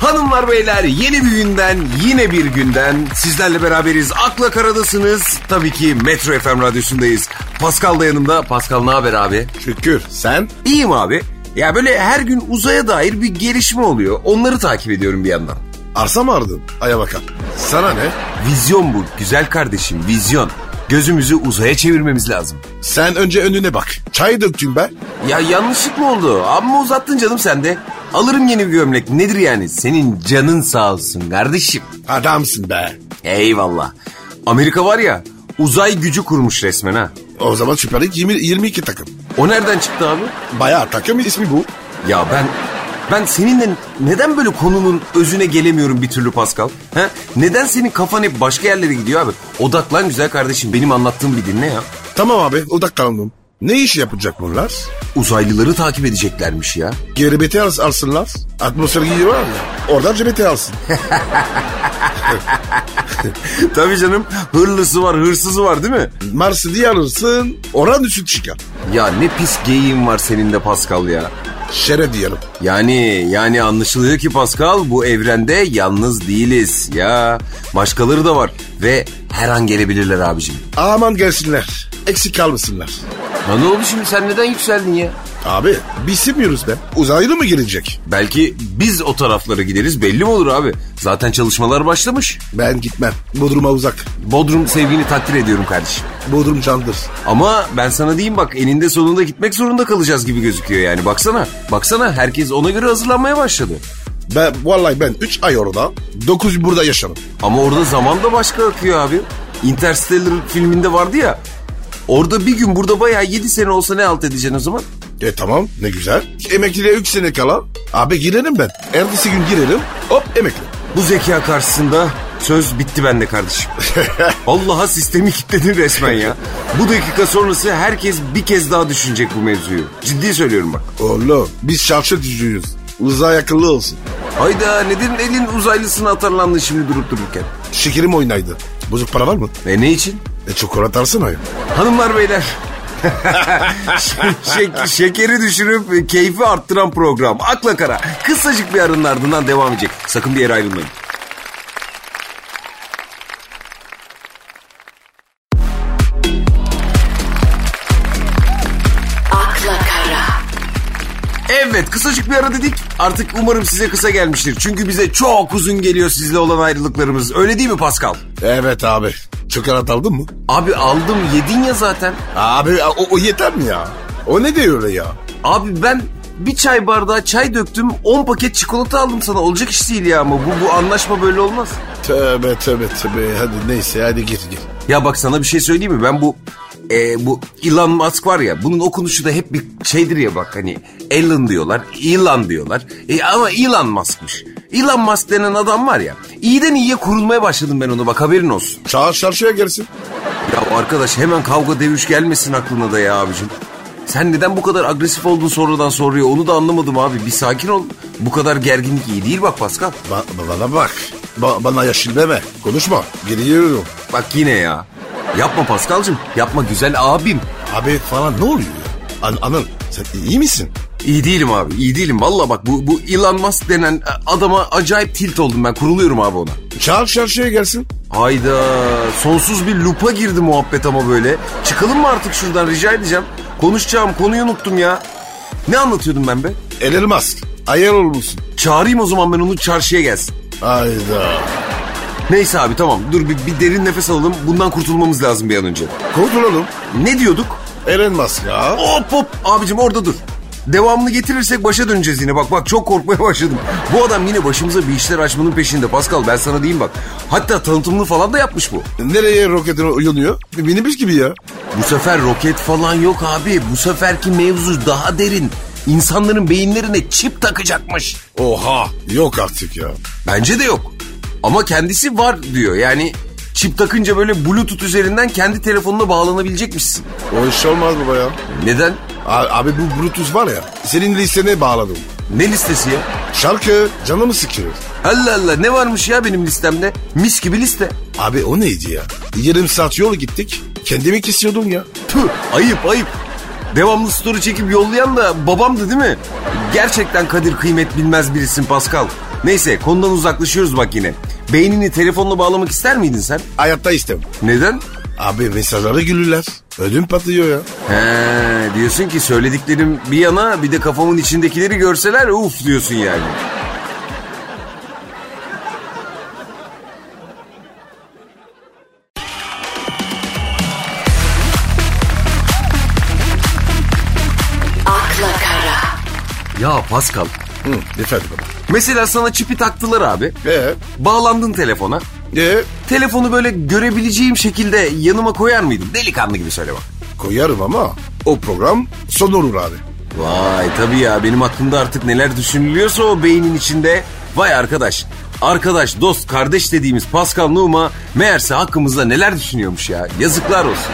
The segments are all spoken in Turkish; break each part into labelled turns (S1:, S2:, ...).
S1: Hanımlar beyler yeni bir günden yine bir günden sizlerle beraberiz. Akla karadasınız. Tabii ki Metro FM radyosundayız. Pascal da yanımda. Pascal ne haber abi?
S2: Şükür. Sen?
S1: İyiyim abi. Ya böyle her gün uzaya dair bir gelişme oluyor. Onları takip ediyorum bir yandan.
S2: Arsa mı aradın? Aya bakalım. Sana ne?
S1: Vizyon bu güzel kardeşim vizyon. Gözümüzü uzaya çevirmemiz lazım.
S2: Sen önce önüne bak. Çay döktün be.
S1: Ya yanlışlık mı oldu? Amma uzattın canım sen de. Alırım yeni bir gömlek. Nedir yani? Senin canın sağ olsun kardeşim.
S2: Adamsın be.
S1: Eyvallah. Amerika var ya uzay gücü kurmuş resmen ha.
S2: O zaman Süper Lig 20 22 takım.
S1: O nereden çıktı abi?
S2: Bayağı takım ismi bu.
S1: Ya ben ben seninle neden böyle konunun özüne gelemiyorum bir türlü Pascal? He? Neden senin kafan hep başka yerlere gidiyor abi? Odaklan güzel kardeşim benim anlattığım bir dinle ya.
S2: Tamam abi odaklandım. Ne iş yapacak bunlar?
S1: Uzaylıları takip edeceklermiş ya.
S2: GRBT als alsınlar. Atmosfer giyi var ya. Oradan GRBT alsın.
S1: Tabii canım hırlısı var hırsızı var değil mi?
S2: Mars'ı diye alırsın. Oradan üstü çıkar.
S1: Ya ne pis geyiğin var senin de Pascal ya.
S2: Şere diyelim.
S1: Yani yani anlaşılıyor ki Pascal bu evrende yalnız değiliz ya. Başkaları da var ve her an gelebilirler abicim.
S2: Aman gelsinler. Eksik kalmasınlar.
S1: Ya ne oldu şimdi sen neden yükseldin ya?
S2: Abi biz bilmiyoruz be. Uzaylı mı gelecek?
S1: Belki biz o taraflara gideriz belli mi olur abi? Zaten çalışmalar başlamış.
S2: Ben gitmem. Bodrum'a uzak.
S1: Bodrum sevgini takdir ediyorum kardeşim.
S2: Bodrum candır.
S1: Ama ben sana diyeyim bak eninde sonunda gitmek zorunda kalacağız gibi gözüküyor yani. Baksana, baksana herkes ona göre hazırlanmaya başladı.
S2: Ben, vallahi ben 3 ay orada, 9 burada yaşarım.
S1: Ama orada zaman da başka akıyor abi. Interstellar filminde vardı ya. Orada bir gün burada bayağı 7 sene olsa ne alt edeceksin o zaman?
S2: E tamam ne güzel. Emekliliğe 3 sene kala. Abi girelim ben. Ertesi gün girelim. Hop emekli.
S1: Bu zeka karşısında söz bitti bende kardeşim. Allah'a sistemi kilitledin resmen ya. Bu dakika sonrası herkes bir kez daha düşünecek bu mevzuyu. Ciddi söylüyorum bak.
S2: Oğlum biz şavşat yüzüyüz. Uzay akıllı olsun.
S1: Hayda neden elin uzaylısına atarlandı şimdi durup dururken?
S2: Şekerim oynaydı. Bozuk para var mı?
S1: E ne için?
S2: E çikolata alsana ya.
S1: Hanımlar beyler. Şek- şekeri düşürüp keyfi arttıran program. Akla kara. Kısacık bir aranın ardından devam edecek. Sakın bir yere ayrılmayın.
S3: Akla Kara.
S1: Evet kısacık bir ara dedik. Artık umarım size kısa gelmiştir. Çünkü bize çok uzun geliyor sizle olan ayrılıklarımız. Öyle değil mi Pascal?
S2: Evet abi. Çikolata aldın mı?
S1: Abi aldım yedin ya zaten.
S2: Abi o, o yeter mi ya? O ne diyor öyle ya?
S1: Abi ben bir çay bardağı çay döktüm 10 paket çikolata aldım sana. Olacak iş değil ya ama bu, bu anlaşma böyle olmaz.
S2: Tövbe tövbe tövbe. Hadi neyse hadi gir gir.
S1: Ya bak sana bir şey söyleyeyim mi? Ben bu e, bu Elon Musk var ya bunun okunuşu da hep bir şeydir ya bak hani Elon diyorlar, Elon diyorlar. E, ama Elon Musk'mış. Elon Musk denen adam var ya. İyiden iyiye kurulmaya başladım ben onu bak haberin olsun.
S2: Çağır çarşıya gelsin.
S1: Ya arkadaş hemen kavga dövüş gelmesin aklına da ya abicim. Sen neden bu kadar agresif oldun sonradan soruyor onu da anlamadım abi. Bir sakin ol. Bu kadar gerginlik iyi değil bak Pascal.
S2: Ba- ba- bana bak. Ba- bana yaşlı deme. Konuşma. Geliyorum.
S1: Bak yine ya. Yapma Pascal'cığım. Yapma güzel abim.
S2: Abi falan ne oluyor ya? An- Anıl sen iyi misin?
S1: İyi değilim abi. iyi değilim. Valla bak bu, bu Elon Musk denen e, adama acayip tilt oldum ben. Kuruluyorum abi ona.
S2: Çağır çarşıya gelsin.
S1: Hayda. Sonsuz bir lupa girdi muhabbet ama böyle. Çıkalım mı artık şuradan rica edeceğim. Konuşacağım konuyu unuttum ya. Ne anlatıyordum ben be?
S2: Elon Musk. Ayar olmuşsun.
S1: Çağırayım o zaman ben onu çarşıya gelsin.
S2: Hayda.
S1: Neyse abi tamam dur bir, bir derin nefes alalım. Bundan kurtulmamız lazım bir an önce.
S2: Kurtulalım.
S1: Ne diyorduk?
S2: Elon Musk ya.
S1: Hop hop abicim orada dur. Devamını getirirsek başa döneceğiz yine. Bak bak çok korkmaya başladım. Bu adam yine başımıza bir işler açmanın peşinde Pascal ben sana diyeyim bak. Hatta tanıtımını falan da yapmış bu.
S2: Nereye roketin uyanıyor? Minibüs gibi ya.
S1: Bu sefer roket falan yok abi. Bu seferki mevzu daha derin. İnsanların beyinlerine çip takacakmış.
S2: Oha. Yok artık ya.
S1: Bence de yok. Ama kendisi var diyor. Yani çip takınca böyle bluetooth üzerinden kendi telefonuna bağlanabilecekmişsin.
S2: O iş olmaz baba ya.
S1: Neden?
S2: A- Abi bu Brutus var ya. Senin listene bağladım.
S1: Ne listesi ya?
S2: Şarkı canımı sıkıyor.
S1: Allah Allah ne varmış ya benim listemde? Mis gibi liste.
S2: Abi o neydi ya? Yarım saat yol gittik. Kendimi kesiyordum ya.
S1: Tüh ayıp ayıp. Devamlı story çekip yollayan da babamdı değil mi? Gerçekten kadir kıymet bilmez birisin Pascal. Neyse konudan uzaklaşıyoruz bak yine. Beynini telefonla bağlamak ister miydin sen?
S2: Hayatta istemem.
S1: Neden?
S2: Abi mesajları gülürler. Ödüm patlıyor ya.
S1: He, diyorsun ki söylediklerim bir yana bir de kafamın içindekileri görseler uf diyorsun yani.
S3: akla kara,
S1: Ya Pascal
S2: Hı, efendim baba.
S1: mesela sana çipi taktılar abi.
S2: Ee,
S1: Bağlandın telefona.
S2: ee,
S1: Telefonu böyle görebileceğim şekilde yanıma koyar mıydın? Delikanlı gibi söyle bak.
S2: koyarım ama o program son olur abi.
S1: Vay tabii ya benim aklımda artık neler düşünülüyorsa o beynin içinde. Vay arkadaş. Arkadaş, dost, kardeş dediğimiz Pascal Numa meğerse hakkımızda neler düşünüyormuş ya. Yazıklar olsun.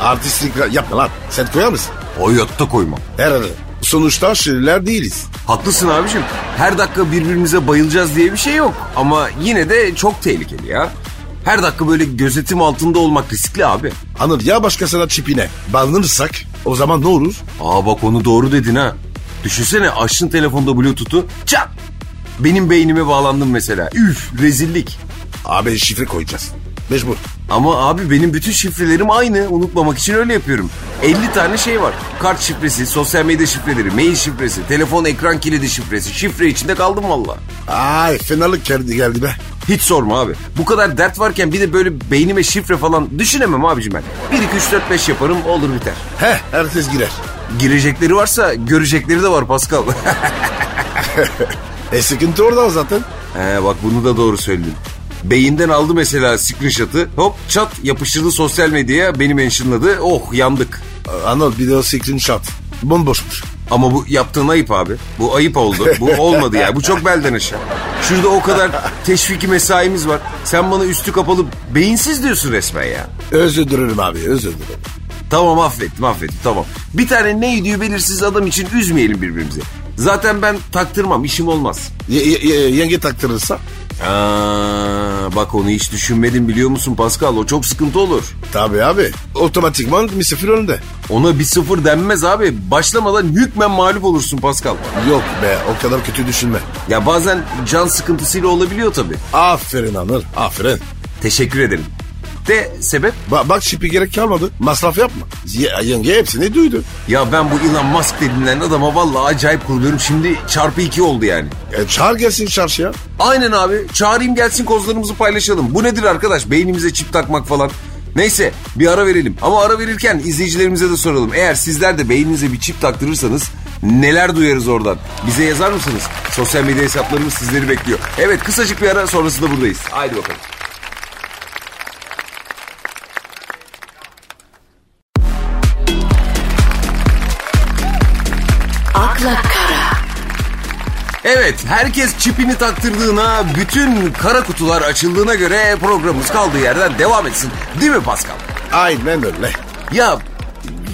S2: Artistlik yapma lan. Sen koyar mısın?
S1: Hayatta koymam.
S2: Herhalde. Sonuçta şiirler değiliz.
S1: Haklısın abicim. Her dakika birbirimize bayılacağız diye bir şey yok. Ama yine de çok tehlikeli ya. Her dakika böyle gözetim altında olmak riskli abi.
S2: Anıl ya başkasına çipine bağlanırsak o zaman ne olur?
S1: Aa bak onu doğru dedin ha. Düşünsene açtın telefonda bluetooth'u çat. Benim beynime bağlandın mesela. Üf rezillik.
S2: Abi şifre koyacağız. Mecbur.
S1: Ama abi benim bütün şifrelerim aynı. Unutmamak için öyle yapıyorum. 50 tane şey var. Kart şifresi, sosyal medya şifreleri, mail şifresi, telefon ekran kilidi şifresi. Şifre içinde kaldım valla.
S2: Ay fenalık geldi geldi be.
S1: Hiç sorma abi. Bu kadar dert varken bir de böyle beynime şifre falan düşünemem abicim ben. 1, 2, 3, 4, 5 yaparım olur biter.
S2: Heh herkes girer.
S1: Girecekleri varsa görecekleri de var Pascal.
S2: E sıkıntı orada zaten.
S1: He bak bunu da doğru söyledin. Beyinden aldı mesela screenshot'ı. Hop çat yapıştırdı sosyal medyaya beni mentionladı. Oh yandık.
S2: Anıl bir de o screenshot. Bomboşmuş.
S1: Ama bu yaptığın ayıp abi. Bu ayıp oldu. Bu olmadı ya. Bu çok belden aşağı. Şurada o kadar teşviki mesaimiz var. Sen bana üstü kapalı beyinsiz diyorsun resmen ya.
S2: Özür dilerim abi özür dilerim.
S1: Tamam affettim affettim tamam. Bir tane ne yediği belirsiz adam için üzmeyelim birbirimizi. Zaten ben taktırmam işim olmaz.
S2: Ye- ye- ye- yenge taktırırsa
S1: Aa, bak onu hiç düşünmedim biliyor musun Pascal o çok sıkıntı olur.
S2: tabii abi otomatikman misafir önünde.
S1: Ona bir sıfır denmez abi. Başlamadan hükmen mağlup olursun Pascal.
S2: Yok be o kadar kötü düşünme.
S1: Ya bazen can sıkıntısıyla olabiliyor tabii.
S2: Aferin Anıl aferin.
S1: Teşekkür ederim. De sebep?
S2: Ba- bak şipi gerek kalmadı masraf yapma. Ye- yenge hepsini duydu.
S1: Ya ben bu Elon Musk denilen adama vallahi acayip kuruluyorum. Şimdi çarpı iki oldu yani.
S2: E, çağır gelsin çarşıya.
S1: Aynen abi. Çağırayım gelsin kozlarımızı paylaşalım. Bu nedir arkadaş? Beynimize çip takmak falan. Neyse bir ara verelim. Ama ara verirken izleyicilerimize de soralım. Eğer sizler de beyninize bir çip taktırırsanız neler duyarız oradan? Bize yazar mısınız? Sosyal medya hesaplarımız sizleri bekliyor. Evet kısacık bir ara sonrasında buradayız. Haydi bakalım.
S3: akla kara,
S1: Evet herkes çipini taktırdığına bütün kara kutular açıldığına göre programımız kaldığı yerden devam etsin. Değil mi Pascal?
S2: Aynen öyle.
S1: Ya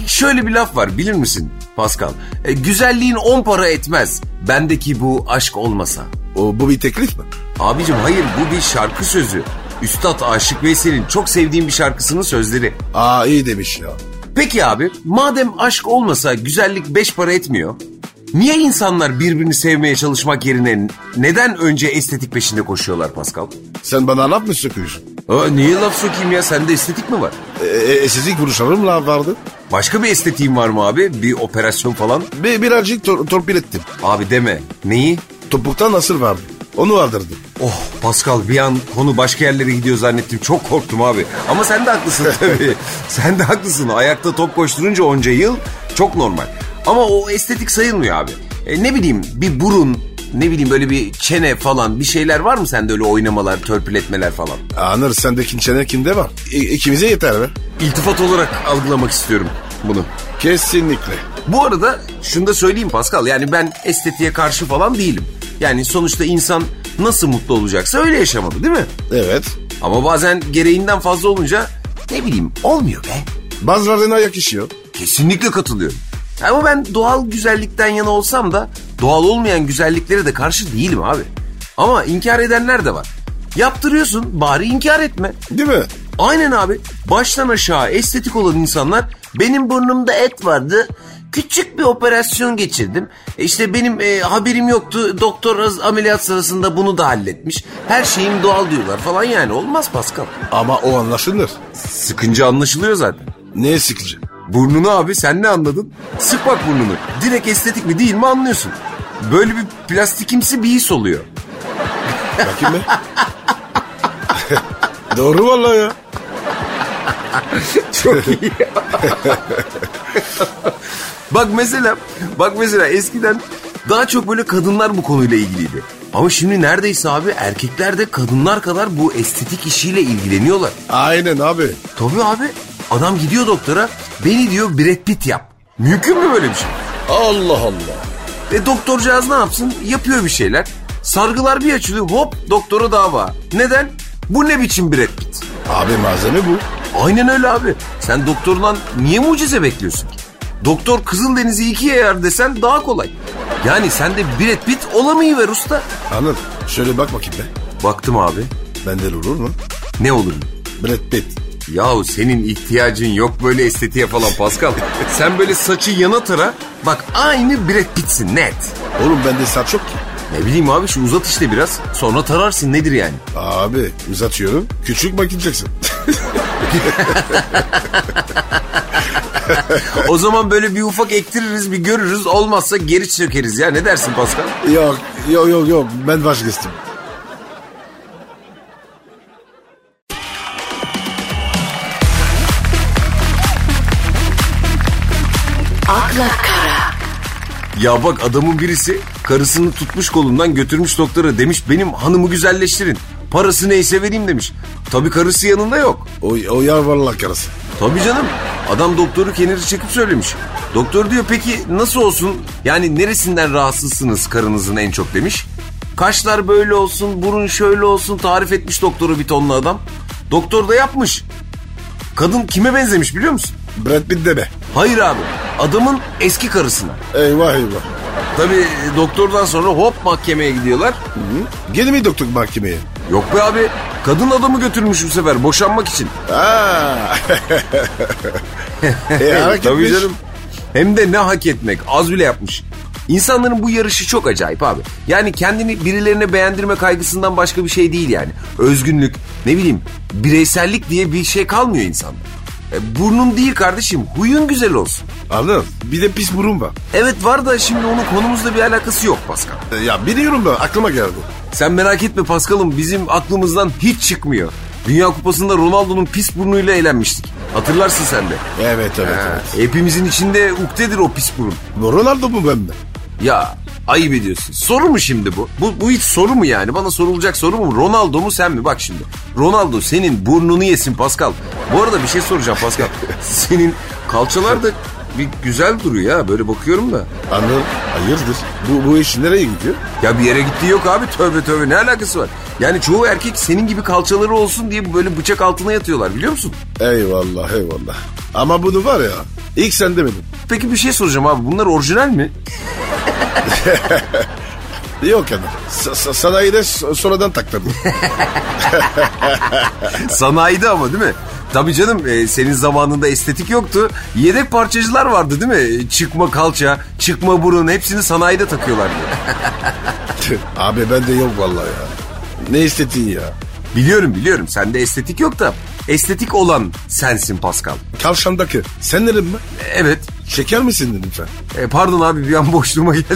S1: şöyle bir laf var bilir misin Pascal? E, güzelliğin on para etmez. Bendeki bu aşk olmasa.
S2: O, bu bir teklif mi?
S1: Abicim hayır bu bir şarkı sözü. Üstad Aşık Veysel'in çok sevdiğim bir şarkısının sözleri.
S2: Aa iyi demiş ya.
S1: Peki abi madem aşk olmasa güzellik beş para etmiyor. Niye insanlar birbirini sevmeye çalışmak yerine neden önce estetik peşinde koşuyorlar Pascal?
S2: Sen bana laf mı sokuyorsun?
S1: Aa, niye laf sokayım ya sende estetik mi var?
S2: E, e, estetik vuruşlarım la vardı.
S1: Başka bir estetiğin var mı abi? Bir operasyon falan?
S2: Bir, birazcık tor- torpil ettim.
S1: Abi deme. Neyi?
S2: Topuktan nasır vardı. Onu vardırdım.
S1: Oh Pascal bir an konu başka yerlere gidiyor zannettim. Çok korktum abi. Ama sen de haklısın tabii. sen de haklısın. Ayakta top koşturunca onca yıl çok normal. Ama o estetik sayılmıyor abi. E, ne bileyim bir burun, ne bileyim böyle bir çene falan bir şeyler var mı sende öyle oynamalar, törpületmeler falan?
S2: Anır sendeki çene kimde var? İ- ikimize yeter be.
S1: İltifat olarak algılamak istiyorum bunu.
S2: Kesinlikle.
S1: Bu arada şunu da söyleyeyim Pascal yani ben estetiğe karşı falan değilim. Yani sonuçta insan nasıl mutlu olacaksa öyle yaşamalı değil mi?
S2: Evet.
S1: Ama bazen gereğinden fazla olunca ne bileyim olmuyor be.
S2: Bazılarına yakışıyor.
S1: Kesinlikle katılıyorum. Ama ben doğal güzellikten yana olsam da doğal olmayan güzelliklere de karşı değilim abi. Ama inkar edenler de var. Yaptırıyorsun bari inkar etme.
S2: Değil mi?
S1: Aynen abi baştan aşağı estetik olan insanlar benim burnumda et vardı Küçük bir operasyon geçirdim. E İşte benim e, haberim yoktu. Doktor az- ameliyat sırasında bunu da halletmiş. Her şeyim doğal diyorlar falan yani. Olmaz Pascal.
S2: Ama o anlaşılır.
S1: Sıkınca anlaşılıyor zaten.
S2: Neye sıkıcı?
S1: Burnunu abi sen ne anladın? Sık bak burnunu. Direkt estetik mi değil mi anlıyorsun. Böyle bir plastikimsi bir his oluyor.
S2: Bakayım be. Doğru vallahi ya.
S1: Çok iyi. bak mesela bak mesela eskiden daha çok böyle kadınlar bu konuyla ilgiliydi. Ama şimdi neredeyse abi erkekler de kadınlar kadar bu estetik işiyle ilgileniyorlar.
S2: Aynen abi.
S1: Tabii abi adam gidiyor doktora beni diyor Brad Pitt yap. Mümkün mü böyle bir şey?
S2: Allah Allah.
S1: E doktorcağız ne yapsın? Yapıyor bir şeyler. Sargılar bir açılıyor hop doktora dava. Neden? Bu ne biçim Brad Pitt?
S2: Abi malzeme bu.
S1: Aynen öyle abi. Sen doktordan niye mucize bekliyorsun ki? Doktor Kızıldeniz'i ikiye yayar desen daha kolay. Yani sen de Brad Pitt olamayıver usta.
S2: Anladın. Şöyle bak bakayım be.
S1: Baktım abi
S2: Benden olur mu?
S1: ne olur mu?
S2: Brad Pitt.
S1: Yahu senin ihtiyacın yok böyle estetiğe falan Pascal. sen böyle saçı yana tara bak aynı Brad Pitt'sin net.
S2: Oğlum bende saç yok ki.
S1: Ne bileyim abi şu uzat işte biraz sonra tararsın nedir yani?
S2: Abi uzatıyorum. Küçük bakılacaksın.
S1: O zaman böyle bir ufak ektiririz bir görürüz olmazsa geri çökeriz ya ne dersin Pascal?
S2: yok yok yok yok ben vazgeçtim.
S3: akla kara,
S1: Ya bak adamın birisi karısını tutmuş kolundan götürmüş doktora demiş benim hanımı güzelleştirin. Parası neyse vereyim demiş. Tabii karısı yanında yok.
S2: O, o yar vallahi karısı.
S1: Tabii canım. Adam doktoru kenara çekip söylemiş. Doktor diyor peki nasıl olsun? Yani neresinden rahatsızsınız karınızın en çok demiş. Kaşlar böyle olsun, burun şöyle olsun tarif etmiş doktoru bir tonlu adam. Doktor da yapmış. Kadın kime benzemiş biliyor musun?
S2: Brad Pitt deme.
S1: Hayır abi. Adamın eski karısına.
S2: Eyvah eyvah.
S1: Tabii e, doktordan sonra hop mahkemeye gidiyorlar.
S2: Gene mi doktuk mahkemeye?
S1: Yok be abi. Kadın adamı götürmüş bu sefer boşanmak için.
S2: Aa. e, hak
S1: Tabii
S2: etmiş.
S1: canım. Hem de ne hak etmek. Az bile yapmış. İnsanların bu yarışı çok acayip abi. Yani kendini birilerine beğendirme kaygısından başka bir şey değil yani. Özgünlük, ne bileyim bireysellik diye bir şey kalmıyor insanda. E, burnun değil kardeşim, huyun güzel olsun.
S2: Anladın? Bir de pis burun var.
S1: Evet var da şimdi onun konumuzla bir alakası yok Pascal.
S2: E, Ya biliyorum ben aklıma geldi.
S1: Sen merak etme Paskal'ım bizim aklımızdan hiç çıkmıyor. Dünya Kupası'nda Ronaldo'nun pis burnuyla eğlenmiştik. Hatırlarsın sen de.
S2: Evet evet
S1: Ha,
S2: evet.
S1: hepimizin içinde uktedir o pis burun.
S2: Ronaldo mu ben mi?
S1: Ya ayıp ediyorsun. Soru mu şimdi bu? Bu, bu hiç soru mu yani? Bana sorulacak soru mu? Ronaldo mu sen mi? Bak şimdi. Ronaldo senin burnunu yesin Pascal. Bu arada bir şey soracağım Pascal. senin kalçalar da bir güzel duruyor ya. Böyle bakıyorum da.
S2: Anladın? Hani Hayırdır? Bu, bu iş nereye gidiyor?
S1: Ya bir yere gittiği yok abi tövbe tövbe ne alakası var? Yani çoğu erkek senin gibi kalçaları olsun diye böyle bıçak altına yatıyorlar biliyor musun?
S2: Eyvallah eyvallah. Ama bunu var ya ilk sen demedin.
S1: Peki bir şey soracağım abi bunlar orijinal mi?
S2: Yok yani. Sa- sa- sanayide so- sonradan taktırdım.
S1: Sanayide ama değil mi? Tabii canım e, senin zamanında estetik yoktu. Yedek parçacılar vardı değil mi? E, Çıkma kalça, çıkma burun hepsini sanayide takıyorlardı.
S2: Abi bende yok vallahi ya. Ne istediğin ya?
S1: biliyorum biliyorum sende estetik yok da estetik olan sensin Pascal. E,
S2: Kavşandaki. Sen nerin mi?
S1: Evet
S2: Şeker misin dedim sen?
S1: E, pardon abi bir an boşluğuma geldi.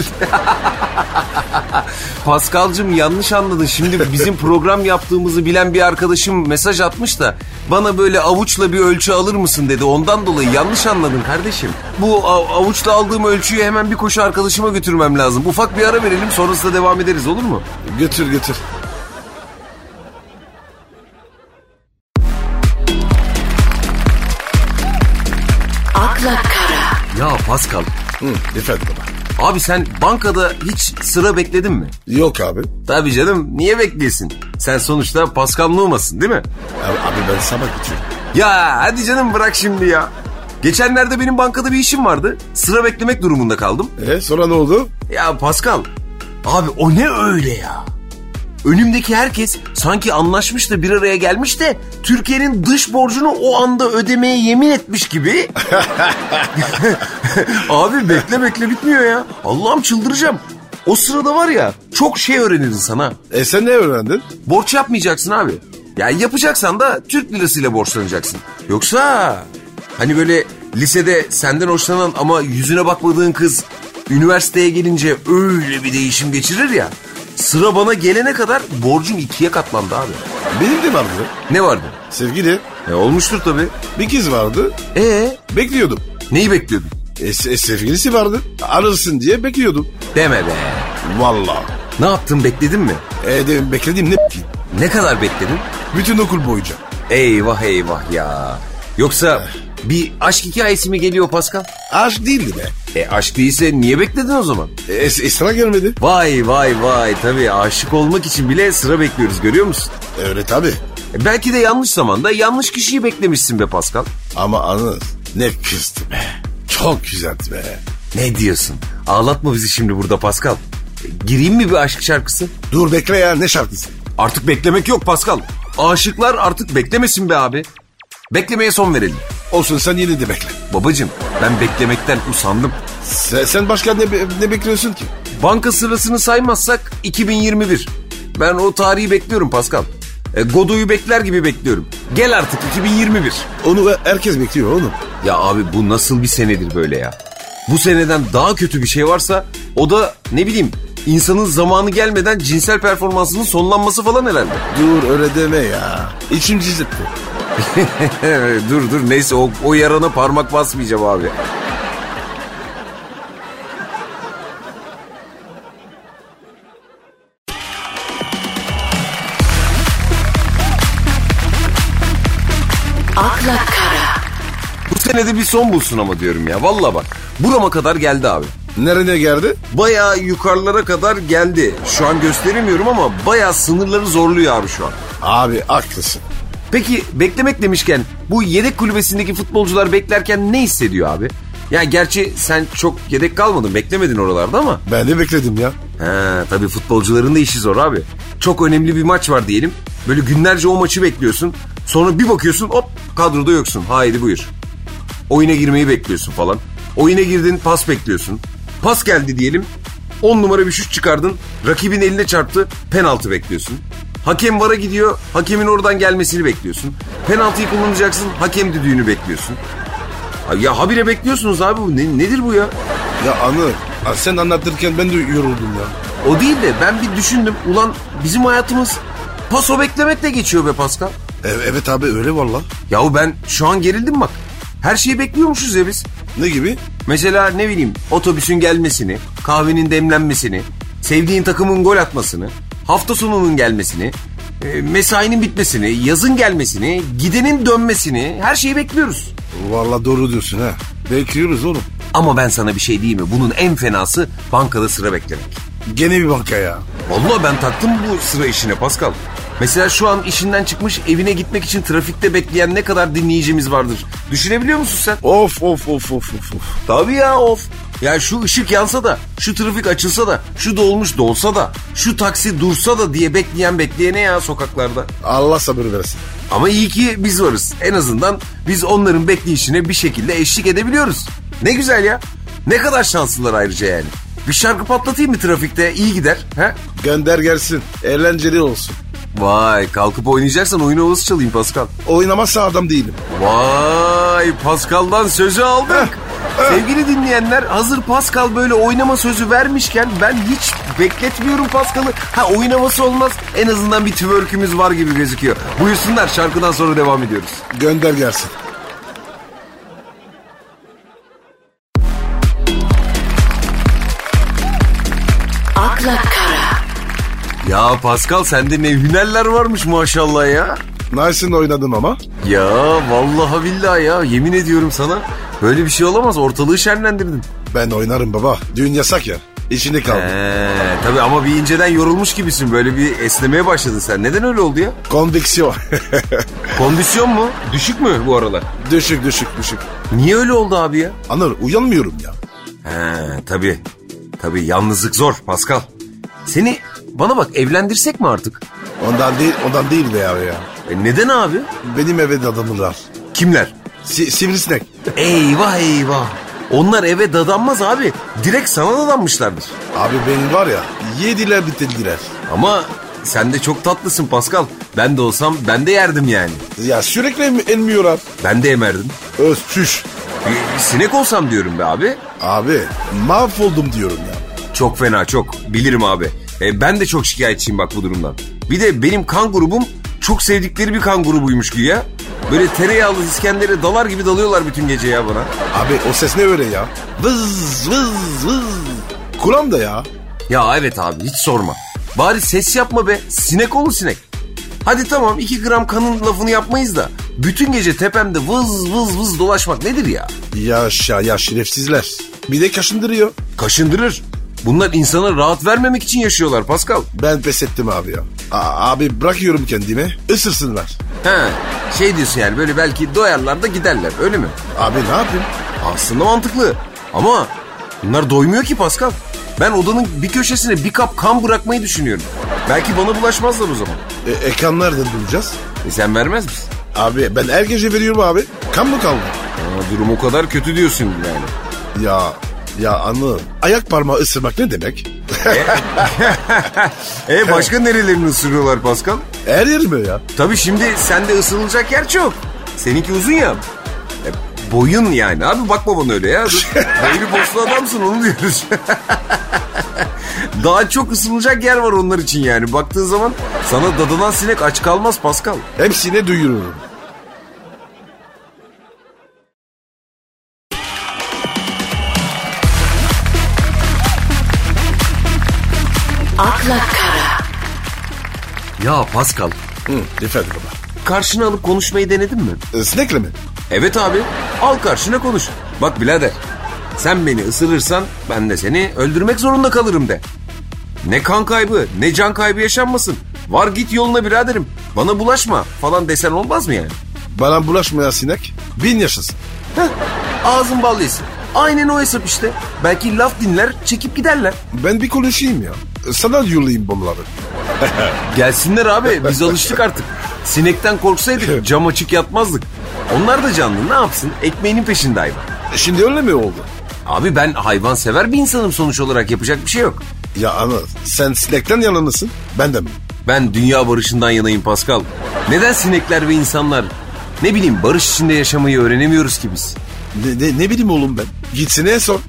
S1: Paskal'cığım yanlış anladın. Şimdi bizim program yaptığımızı bilen bir arkadaşım mesaj atmış da bana böyle avuçla bir ölçü alır mısın dedi. Ondan dolayı yanlış anladın kardeşim. Bu av- avuçla aldığım ölçüyü hemen bir koşu arkadaşıma götürmem lazım. Ufak bir ara verelim sonrasında devam ederiz olur mu?
S2: Götür götür.
S3: akla kara,
S1: Ya Paskal
S2: Hı, efendim.
S1: abi sen bankada hiç sıra bekledin mi?
S2: Yok abi.
S1: Tabii canım niye bekliyorsun? Sen sonuçta Paskal Numa'sın değil mi?
S2: Abi, abi ben sabah gidiyorum.
S1: Ya hadi canım bırak şimdi ya. Geçenlerde benim bankada bir işim vardı. Sıra beklemek durumunda kaldım.
S2: E sonra ne oldu?
S1: Ya Pascal. Abi o ne öyle ya? Önümdeki herkes sanki anlaşmış da bir araya gelmiş de Türkiye'nin dış borcunu o anda ödemeye yemin etmiş gibi. Abi bekle bekle bitmiyor ya. Allah'ım çıldıracağım. O sırada var ya çok şey öğreniriz sana.
S2: E sen ne öğrendin?
S1: Borç yapmayacaksın abi. Yani yapacaksan da Türk lirasıyla borçlanacaksın. Yoksa hani böyle lisede senden hoşlanan ama yüzüne bakmadığın kız üniversiteye gelince öyle bir değişim geçirir ya. Sıra bana gelene kadar borcun ikiye katlandı abi.
S2: Benim de vardı.
S1: Ne vardı?
S2: Sevgili
S1: E, olmuştur tabii.
S2: bir kız vardı.
S1: E
S2: Bekliyordum.
S1: neyi bekliyordun?
S2: E, se- sevgilisi vardı. Arırsın diye bekliyordum.
S1: Deme be.
S2: Vallahi.
S1: Ne yaptın bekledin mi?
S2: E de beklediğim ne ki?
S1: Ne kadar bekledin?
S2: Bütün okul boyunca.
S1: Eyvah eyvah ya. Yoksa bir aşk hikayesi mi geliyor Pascal?
S2: Aşk değildi be.
S1: E aşk değilse niye bekledin o zaman?
S2: E, es- esra gelmedi.
S1: Vay vay vay tabii aşık olmak için bile sıra bekliyoruz görüyor musun?
S2: Öyle tabi.
S1: E, belki de yanlış zamanda yanlış kişiyi beklemişsin be Pascal.
S2: Ama anız ne kızdı be. Çok güzeldi be.
S1: Ne diyorsun? Ağlatma bizi şimdi burada Pascal. E, gireyim mi bir aşk şarkısı?
S2: Dur bekle ya ne şarkısı?
S1: Artık beklemek yok Pascal. Aşıklar artık beklemesin be abi. Beklemeye son verelim.
S2: Olsun sen yine de bekle.
S1: Babacım ben beklemekten usandım.
S2: Sen, sen başka ne, be- ne bekliyorsun ki?
S1: Banka sırasını saymazsak 2021. Ben o tarihi bekliyorum Pascal. E, Godoy'u bekler gibi bekliyorum. Gel artık 2021.
S2: Onu e, herkes bekliyor oğlum.
S1: Ya abi bu nasıl bir senedir böyle ya? Bu seneden daha kötü bir şey varsa o da ne bileyim insanın zamanı gelmeden cinsel performansının sonlanması falan herhalde.
S2: Dur öyle deme ya. İçim cizletti.
S1: dur dur neyse o, o yarana parmak basmayacağım abi.
S3: akla kara,
S1: Bu senede bir son bulsun ama diyorum ya. Valla bak burama kadar geldi abi.
S2: Nerede geldi?
S1: Bayağı yukarılara kadar geldi. Şu an gösteremiyorum ama bayağı sınırları zorluyor abi şu an.
S2: Abi haklısın.
S1: Peki beklemek demişken bu yedek kulübesindeki futbolcular beklerken ne hissediyor abi? Ya gerçi sen çok yedek kalmadın beklemedin oralarda ama.
S2: Ben de bekledim ya.
S1: Ha tabii futbolcuların da işi zor abi. Çok önemli bir maç var diyelim. Böyle günlerce o maçı bekliyorsun. Sonra bir bakıyorsun hop kadroda yoksun. Haydi buyur. Oyuna girmeyi bekliyorsun falan. Oyuna girdin pas bekliyorsun. Pas geldi diyelim. 10 numara bir şut çıkardın. Rakibin eline çarptı. Penaltı bekliyorsun. Hakem vara gidiyor. Hakemin oradan gelmesini bekliyorsun. Penaltıyı kullanacaksın. Hakem düdüğünü bekliyorsun. Ay Ya habire bekliyorsunuz abi bu. Ne- nedir bu ya?
S2: Ya anı ha, sen anlatırken ben de yoruldum ya.
S1: O değil de ben bir düşündüm. Ulan bizim hayatımız paso beklemekle geçiyor be Pascal.
S2: E- evet abi öyle valla.
S1: Yahu ben şu an gerildim bak. Her şeyi bekliyormuşuz ya biz.
S2: Ne gibi?
S1: Mesela ne bileyim otobüsün gelmesini, kahvenin demlenmesini, sevdiğin takımın gol atmasını, hafta sonunun gelmesini, e, mesainin bitmesini, yazın gelmesini, gidenin dönmesini her şeyi bekliyoruz.
S2: Valla doğru diyorsun ha. Bekliyoruz oğlum.
S1: Ama ben sana bir şey diyeyim mi? Bunun en fenası bankada sıra beklemek.
S2: Gene bir banka ya.
S1: Vallahi ben taktım bu sıra işine Pascal. Mesela şu an işinden çıkmış evine gitmek için trafikte bekleyen ne kadar dinleyicimiz vardır. Düşünebiliyor musun sen?
S2: Of of of of of. of.
S1: Tabii ya of. Ya şu ışık yansa da, şu trafik açılsa da, şu dolmuş dolsa da, şu taksi dursa da diye bekleyen bekleyene ya sokaklarda.
S2: Allah sabır versin.
S1: Ama iyi ki biz varız. En azından biz onların bekleyişine bir şekilde eşlik edebiliyoruz. Ne güzel ya. Ne kadar şanslılar ayrıca yani. Bir şarkı patlatayım mı trafikte? İyi gider. He?
S2: Gönder gelsin. Eğlenceli olsun.
S1: Vay kalkıp oynayacaksan oyun havası çalayım Pascal.
S2: Oynamazsa adam değilim.
S1: Vay Pascal'dan sözü aldık. Sevgili dinleyenler hazır Pascal böyle oynama sözü vermişken ben hiç bekletmiyorum Pascal'ı. Ha oynaması olmaz en azından bir twerk'ümüz var gibi gözüküyor. Buyursunlar şarkıdan sonra devam ediyoruz.
S2: Gönder gelsin.
S3: akla kara,
S1: Ya Pascal sende ne hünerler varmış maşallah ya.
S2: Nice'ın oynadım ama.
S1: Ya vallahi billahi ya yemin ediyorum sana böyle bir şey olamaz ortalığı şenlendirdin.
S2: Ben oynarım baba. Düğün yasak ya. İçinde kaldı.
S1: Ee, tabii ama bir inceden yorulmuş gibisin böyle bir esnemeye başladın sen. Neden öyle oldu ya?
S2: Kondiksiyon.
S1: Kondisyon mu? Düşük mü bu aralar?
S2: düşük düşük düşük.
S1: Niye öyle oldu abi ya?
S2: Anır uyanmıyorum ya.
S1: He tabii. Tabii yalnızlık zor Pascal. Seni Bana bak evlendirsek mi artık?
S2: Ondan değil, ondan değil be abi ya.
S1: E neden abi?
S2: Benim eve dadanırlar.
S1: Kimler?
S2: Si, sivrisinek.
S1: Eyvah eyvah. Onlar eve dadanmaz abi. Direkt sana dadanmışlardır.
S2: Abi benim var ya yediler bitirdiler.
S1: Ama sen de çok tatlısın Pascal. Ben de olsam ben de yerdim yani.
S2: Ya sürekli em- elmiyorlar.
S1: Ben de emerdim.
S2: Öz çüş.
S1: E, sinek olsam diyorum be abi.
S2: Abi mahvoldum diyorum ya.
S1: Çok fena çok. Bilirim abi. E, ben de çok şikayetçiyim bak bu durumdan. Bir de benim kan grubum çok sevdikleri bir kan grubuymuş güya. Böyle tereyağlı İskender'e dalar gibi dalıyorlar bütün gece ya bana.
S2: Abi o ses ne öyle ya? Vız vız vız. Kulağım da ya.
S1: Ya evet abi hiç sorma. Bari ses yapma be. Sinek olur sinek. Hadi tamam 2 gram kanın lafını yapmayız da. Bütün gece tepemde vız vız vız dolaşmak nedir ya?
S2: Yaşa ya şerefsizler. Bir de kaşındırıyor.
S1: Kaşındırır. Bunlar insana rahat vermemek için yaşıyorlar Pascal.
S2: Ben pes ettim abi ya. A- abi bırakıyorum kendimi. Isırsınlar.
S1: He şey diyorsun yani böyle belki doyarlar da giderler öyle mi?
S2: Abi ne yapayım?
S1: Aslında mantıklı. Ama bunlar doymuyor ki Pascal. Ben odanın bir köşesine bir kap kan bırakmayı düşünüyorum. Belki bana bulaşmazlar o zaman.
S2: E, e, kan nereden bulacağız?
S1: E sen vermez misin?
S2: Abi ben her gece veriyorum abi. Kan mı kaldı?
S1: Aa, durum o kadar kötü diyorsun yani.
S2: Ya ya anı. Ayak parmağı ısırmak ne demek?
S1: E başka nerelerini ısırıyorlar Pascal?
S2: Her yer mi ya?
S1: Tabii şimdi sende ısırılacak yer çok. Seninki uzun ya. E, boyun yani. Abi bakma bana öyle ya. Hayri poslu adamsın onu diyoruz. Daha çok ısırılacak yer var onlar için yani. Baktığın zaman sana dadanan sinek aç kalmaz Pascal.
S2: Hepsine duyururum.
S3: akla kara,
S1: Ya Pascal
S2: Hı, efendim baba.
S1: karşına alıp konuşmayı denedin mi?
S2: E, sinekle mi?
S1: Evet abi al karşına konuş. Bak birader sen beni ısırırsan ben de seni öldürmek zorunda kalırım de. Ne kan kaybı ne can kaybı yaşanmasın. Var git yoluna biraderim bana bulaşma falan desen olmaz mı yani?
S2: Bana bulaşmayan sinek bin yaşasın.
S1: Heh, ağzın bal yesin. Aynen o hesap işte. Belki laf dinler çekip giderler.
S2: Ben bir konuşayım ya. E, Sana yollayayım bunları.
S1: Gelsinler abi biz alıştık artık. Sinekten korksaydık cam açık yatmazdık. Onlar da canlı ne yapsın ekmeğinin peşinde hayvan.
S2: E, Şimdi öyle mi oldu?
S1: Abi ben hayvan sever bir insanım sonuç olarak yapacak bir şey yok.
S2: Ya ana sen sinekten yana mısın? Ben de mi?
S1: Ben dünya barışından yanayım Pascal. Neden sinekler ve insanlar ne bileyim barış içinde yaşamayı öğrenemiyoruz ki biz?
S2: Ne, ne, ne bileyim oğlum ben. Gitsin en son.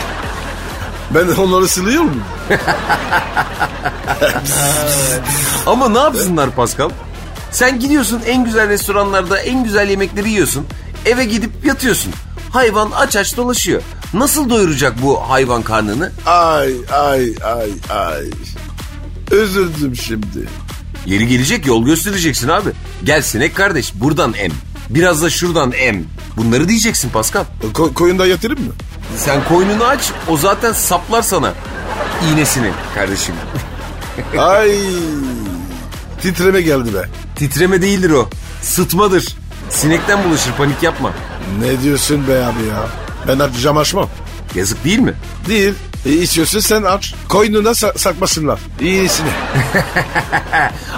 S2: ben onları siliyor muyum?
S1: Ama ne yapsınlar Pascal? Sen gidiyorsun en güzel restoranlarda en güzel yemekleri yiyorsun. Eve gidip yatıyorsun. Hayvan aç aç dolaşıyor. Nasıl doyuracak bu hayvan karnını?
S2: Ay ay ay ay. Üzüldüm şimdi.
S1: Yeri gelecek yol göstereceksin abi. Gel sinek kardeş buradan em. Biraz da şuradan em. Bunları diyeceksin Pascal.
S2: Ko- koyunda yatırım mı?
S1: Sen koynunu aç o zaten saplar sana iğnesini kardeşim.
S2: Ay. Titreme geldi be.
S1: Titreme değildir o. Sıtmadır. Sinekten bulaşır panik yapma.
S2: Ne diyorsun be abi ya? Ben artık cam açmam.
S1: Yazık değil mi?
S2: Değil. E, istiyorsun sen aç. Koynuna sa- sakmasınlar. İyisini.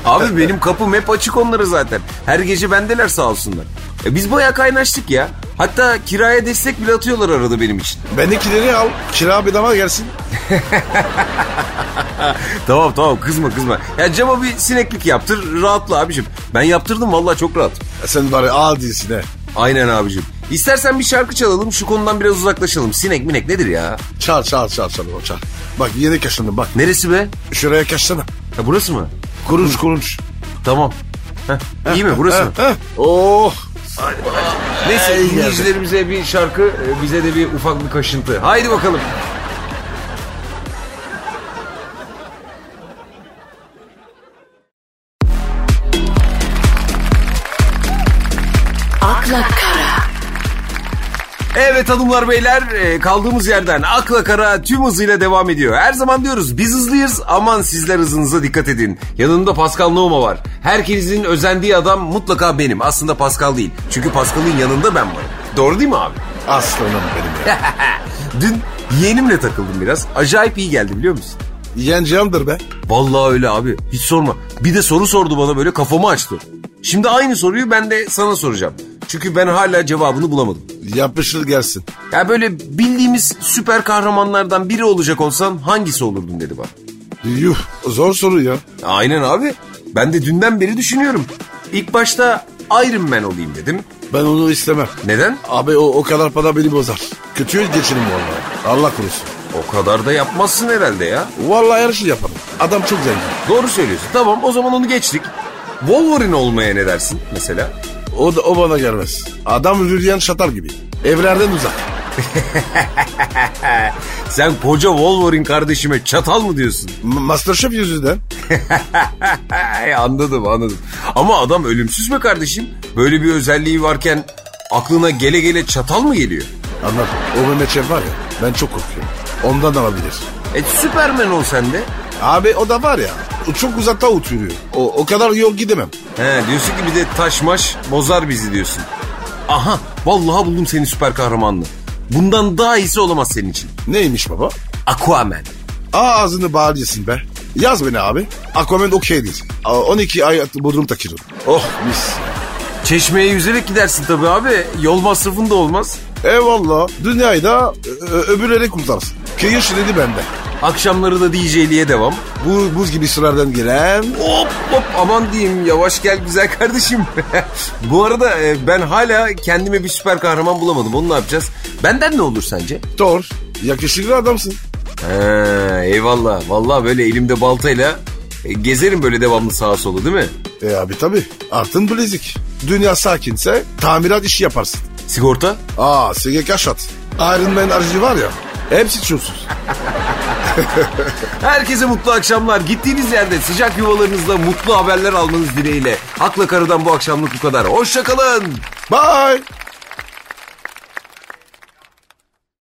S1: Abi benim kapım hep açık onlara zaten. Her gece bendeler sağ olsunlar. E biz bayağı kaynaştık ya. Hatta kiraya destek bile atıyorlar arada benim için.
S2: Bendekileri al. Kira bedava gelsin.
S1: Tamam tamam kızma kızma. Ya cama bir sineklik yaptır rahatla abicim. Ben yaptırdım vallahi çok rahat.
S2: E, Sen bari al değilsin he.
S1: Aynen abicim. İstersen bir şarkı çalalım şu konudan biraz uzaklaşalım. Sinek minek nedir ya?
S2: Çal çal çal çal oğlum, çal. Bak yeni kaşındım bak.
S1: Neresi be?
S2: Şuraya kaşsana.
S1: Ha, burası mı?
S2: Kurunç kurunç.
S1: Tamam. Heh, iyi mi burası mı?
S2: Heh. Oh.
S1: Neyse
S2: Ay,
S1: dinleyicilerimize bir şarkı, e, bize de bir ufak bir kaşıntı. Haydi bakalım.
S3: akla kara,
S1: Evet hanımlar beyler e, kaldığımız yerden akla kara tüm hızıyla devam ediyor. Her zaman diyoruz biz hızlıyız aman sizler hızınıza dikkat edin. Yanında Pascal Nouma var. Herkesin özendiği adam mutlaka benim. Aslında Pascal değil. Çünkü Pascal'ın yanında ben varım. Doğru değil mi abi?
S2: Aslanım benim ya.
S1: Dün yeğenimle takıldım biraz. Acayip iyi geldi biliyor musun?
S2: Yenceğimdir be.
S1: Vallahi öyle abi. Hiç sorma. Bir de soru sordu bana böyle kafamı açtı. Şimdi aynı soruyu ben de sana soracağım. Çünkü ben hala cevabını bulamadım.
S2: Yapışır gelsin.
S1: Ya böyle bildiğimiz süper kahramanlardan biri olacak olsan hangisi olurdun dedi bana.
S2: Yuh zor soru ya.
S1: Aynen abi. Ben de dünden beri düşünüyorum. İlk başta Iron Man olayım dedim.
S2: Ben onu istemem.
S1: Neden?
S2: Abi o, o kadar para beni bozar. Kötü geçirim vallahi. Allah korusun.
S1: O kadar da yapmazsın herhalde ya.
S2: Vallahi her şey yaparım. Adam çok zengin.
S1: Doğru söylüyorsun. Tamam o zaman onu geçtik. Wolverine olmaya ne dersin mesela?
S2: O, da, o bana gelmez. Adam yürüyen şatar gibi. Evlerden uzak.
S1: Sen koca Wolverine kardeşime çatal mı diyorsun?
S2: M- Masterchef yüzünden.
S1: anladım anladım. Ama adam ölümsüz mü kardeşim? Böyle bir özelliği varken aklına gele gele çatal mı geliyor?
S2: Anlat. O Mehmet Şef var ya ben çok korkuyorum. Ondan alabilir.
S1: E Süpermen ol sen de.
S2: Abi o da var ya o çok uzakta oturuyor. O, o kadar yol gidemem.
S1: He diyorsun ki bir de taşmaş bozar bizi diyorsun. Aha vallahi buldum seni süper kahramanlı. Bundan daha iyisi olamaz senin için.
S2: Neymiş baba?
S1: Aquaman.
S2: Ağzını bağlıyorsun be. Yaz beni abi. Aquaman okey değil. A- 12 ay at- bodrum takırım. Oh mis.
S1: Çeşmeye yüzerek gidersin tabii abi. Yol masrafın da olmaz.
S2: Eyvallah. Dünyayı da ö- öbürleri kurtarsın. Kıyır şireti bende.
S1: Akşamları da DJ'liğe devam.
S2: Bu buz gibi sıralardan giren...
S1: Hop hop aman diyeyim yavaş gel güzel kardeşim. Bu arada e, ben hala kendime bir süper kahraman bulamadım. Onu ne yapacağız? Benden ne olur sence?
S2: Thor. Yakışıklı adamsın.
S1: He, eyvallah. Vallahi böyle elimde baltayla e, gezerim böyle devamlı sağa sola değil mi?
S2: E abi tabi. Artın bilezik. Dünya sakinse tamirat işi yaparsın.
S1: Sigorta?
S2: Aa SGK şat. Iron Man aracı var ya. Hepsi çulsuz.
S1: Herkese mutlu akşamlar. Gittiğiniz yerde sıcak yuvalarınızda mutlu haberler almanız dileğiyle. Akla Karı'dan bu akşamlık bu kadar. Hoşçakalın.
S2: Bye.